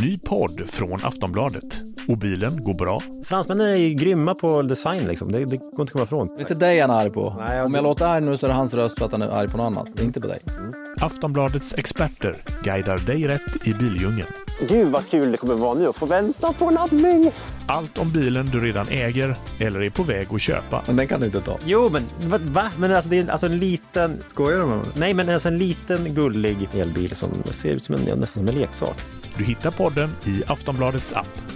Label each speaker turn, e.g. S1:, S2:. S1: Ny podd från Aftonbladet. Och bilen går bra.
S2: Fransmännen är ju grymma på design liksom. Det, det går inte att komma ifrån.
S3: Det är inte dig han är arg på.
S2: Nej, jag-
S3: Om jag låter arg nu så är det hans röst för att han är arg på något annat. Det är inte på dig.
S1: Aftonbladets experter guidar dig rätt i bildjungeln.
S4: Gud vad kul det kommer vara nu att få vänta på laddning.
S1: Allt om bilen du redan äger eller är på väg att köpa.
S3: Men den kan du inte ta.
S2: Jo, men va? va? Men alltså, det är en- alltså en liten...
S3: Skojar du med mig?
S2: Nej, men alltså en liten gullig elbil som ser ut som en, ja, nästan som en leksak.
S1: Du hittar podden i Aftonbladets app.